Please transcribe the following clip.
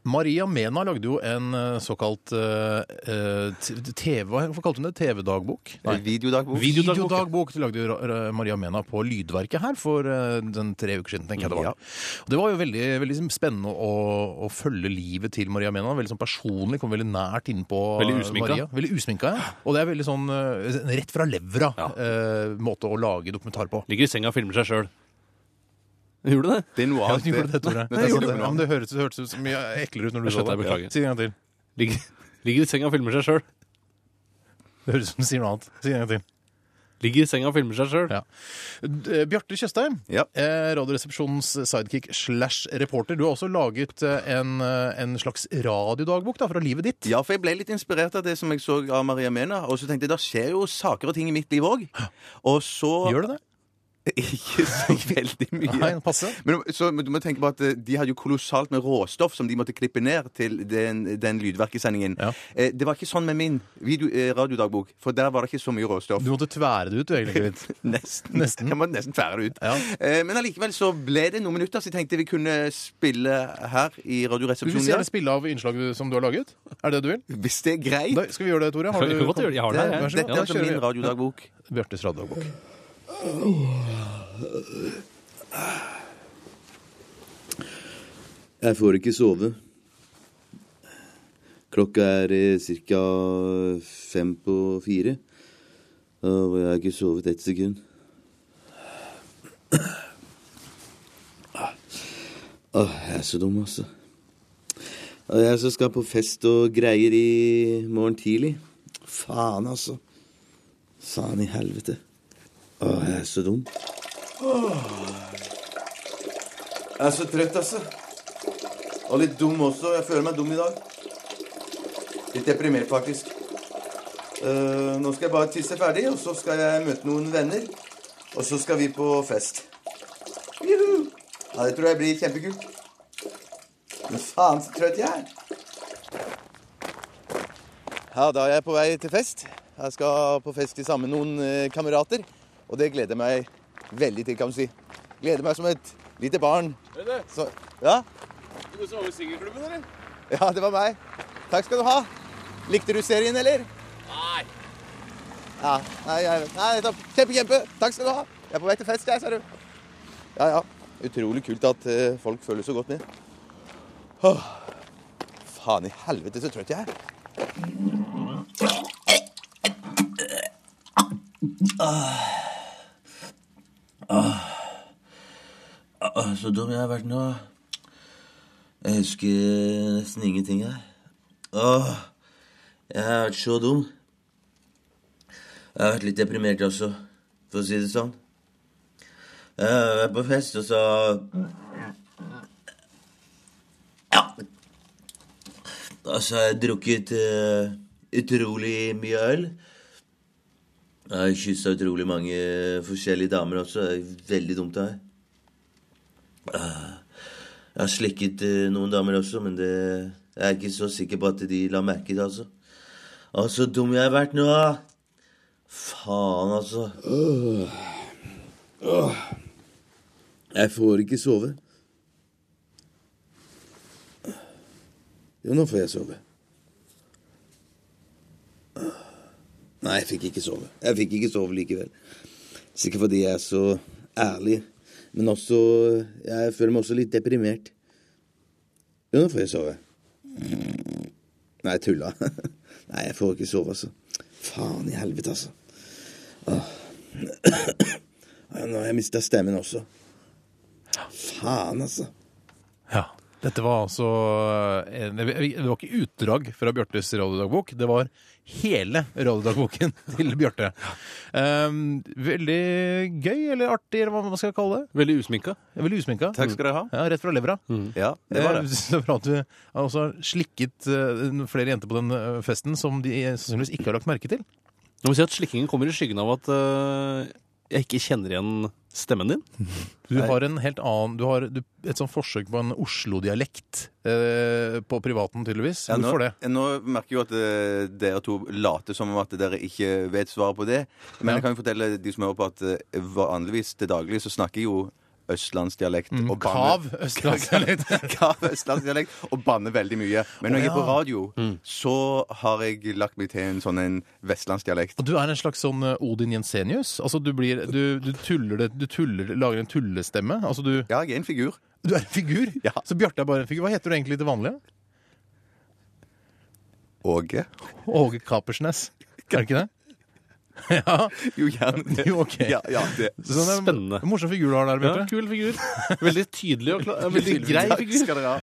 Maria Mena lagde jo en eh, såkalt eh, eh, t- TV, hva kalte hun det? TV-dagbok? Nei. Videodagbok. Videodagbok. Videodagbok lagde jo Ra- Ra- Maria Mena på Lydverket her for eh, den tre uker siden. tenker jeg Det var Ja. Og det var jo veldig, veldig liksom, spennende å, å følge livet til Maria Mena. Veldig sånn personlig, kom veldig nært innpå eh, Veldig usminka. Maria. Veldig usminka, ja. Og det er veldig sånn eh, rett fra levra eh, måte å lage dokumentar på. Ligger i senga og filmer seg sjøl. Gjorde du det? Det er noe Ja, annet. du gjorde det, Tore. Nei, Jeg gjorde det. det. Ja, men det hørtes, hørtes ut så mye eklere ut når du Jeg sa skjønte, det. jeg beklager. Si det en gang til. Ligger, ligger i senga og filmer seg sjøl. Det høres ut som du sier noe annet. Si det en gang til. Ligger i senga og filmer seg sjøl. Ja. D- eh, Bjarte Tjøstheim, Ja. eh, Radioresepsjonens sidekick slash reporter. Du har også laget eh, en, eh, en slags radiodagbok da, fra livet ditt. Ja, for jeg ble litt inspirert av det som jeg så av Maria Mena. Og så tenkte jeg, da skjer jo saker og ting i mitt liv òg. Og så Gjør det det? Ikke så veldig mye. Nei, passe. Men, så, men du må tenke på at eh, De hadde jo kolossalt med råstoff som de måtte klippe ned til den, den lydverkesendingen. Ja. Eh, det var ikke sånn med min video, eh, radiodagbok, for der var det ikke så mye råstoff. Du måtte tvære det ut, du, egentlig. litt. Nesten. Nesten. Jeg må nesten fære det ut. Ja. Eh, men allikevel så ble det noen minutter, så jeg tenkte vi kunne spille her i Du vil Radioresepsjonen. i gjerne dag. spille av innslaget som du har laget? Er det det du vil? Hvis det er greit. Da skal vi gjøre det, Tore? Jeg kan godt gjøre det. Jeg har det her, jeg. Vær så Dette god. er Da altså min kjører vi radiodagbok. Bjartes radiodagbok. Jeg får ikke sove. Klokka er ca. fem på fire. Og jeg har ikke sovet ett sekund. Åh, jeg er så dum, altså. Og jeg som skal på fest og greier i morgen tidlig. Faen, altså. Faen i helvete. Åh, jeg er så dum. Jeg er så trøtt, altså. Og litt dum også. Jeg føler meg dum i dag. Litt deprimert, faktisk. Eh, nå skal jeg bare tisse ferdig, og så skal jeg møte noen venner. Og så skal vi på fest. Juhu! Ja, det tror jeg blir kjempekult. Men faen så trøtt jeg er. Ja, da er jeg på vei til fest. Jeg skal på fest sammen med noen eh, kamerater. Og det gleder jeg meg veldig til, kan du si. Gleder meg som et lite barn. Så, ja? Ja, det var meg. Takk skal du ha. Likte du serien, eller? Ja, nei, jeg, nei, nettopp. Kjempe, kjempe. Takk skal du ha. Jeg er på vei til fest, jeg, ser du. Ja, ja. Utrolig kult at eh, folk følger så godt med. Åh. Faen i helvete, så trøtt jeg er. Så dum jeg har vært nå. Jeg husker nesten ingenting her. Åh, jeg har vært så dum. Jeg har vært litt deprimert også, for å si det sånn. Jeg har vært på fest, og så Ja. Og så har jeg drukket eh, utrolig mye øl. Jeg har kyssa utrolig mange forskjellige damer også. Det er veldig dumt av meg. Jeg har slikket eh, noen damer også, men det, jeg er ikke så sikker på at de la merke til det, altså. Å, så dum jeg har vært nå! da. Faen, altså. Jeg får ikke sove. Jo, nå får jeg sove. Nei, jeg fikk ikke sove. Jeg fikk ikke sove likevel. Sikkert fordi jeg er så ærlig. Men også Jeg føler meg også litt deprimert. Jo, nå får jeg sove. Nei, jeg tulla. Nei, jeg får ikke sove, altså. Faen i helvete, altså. Åh. Nå har jeg mista stemmen også. Faen, altså. Ja. Dette var altså en, Det var ikke utdrag fra Bjartes radiodagbok, det var hele radiodagboken til Bjarte. Um, veldig gøy, eller artig, eller hva man skal kalle det. Veldig usminka. Veldig usminka. Takk skal du ha. Ja, Rett fra levra. Ja, det var det. Eh, Så bra at du har også slikket eh, flere jenter på den eh, festen som de sannsynligvis ikke har lagt merke til. Nå må jeg si at Slikkingen kommer i skyggen av at øh, jeg ikke kjenner igjen stemmen din. Du har en helt annen Du har du, et sånt forsøk på en Oslo-dialekt eh, på privaten, tydeligvis. Ja, nå, Hvorfor det? nå merker jeg jo at eh, dere to later som om at dere ikke vet svaret på det. Men Ja. jeg kan jo fortelle de som hører på, at eh, vanligvis til daglig så snakker jeg jo østlandsdialekt. og banne- Mm. Kav østlandsdialekt. Kav østlandsdialekt og banner veldig mye. Men når jeg er på radio, så har jeg lagt meg til en sånn en vestlandsdialekt. Og du er en slags sånn eh, Odin Jensenius? Altså du blir Du, du tuller det Du tuller, lager en tullestemme? Altså du Ja, jeg er en figur. Du er en figur? Ja. Så Bjarte er bare en figur. Hva heter du egentlig til vanlig? Åge. Åge Kapersnes. Er det ikke det? Ja. Jo, gjerne. Jo, ok. Ja, ja, det. Så det er en Sånn, Spennende. eh, Morsom figur du har der, Ja, Bjarte. kul figur. Veldig tydelig og klar. Veldig grei Takk figur. skal dere ha.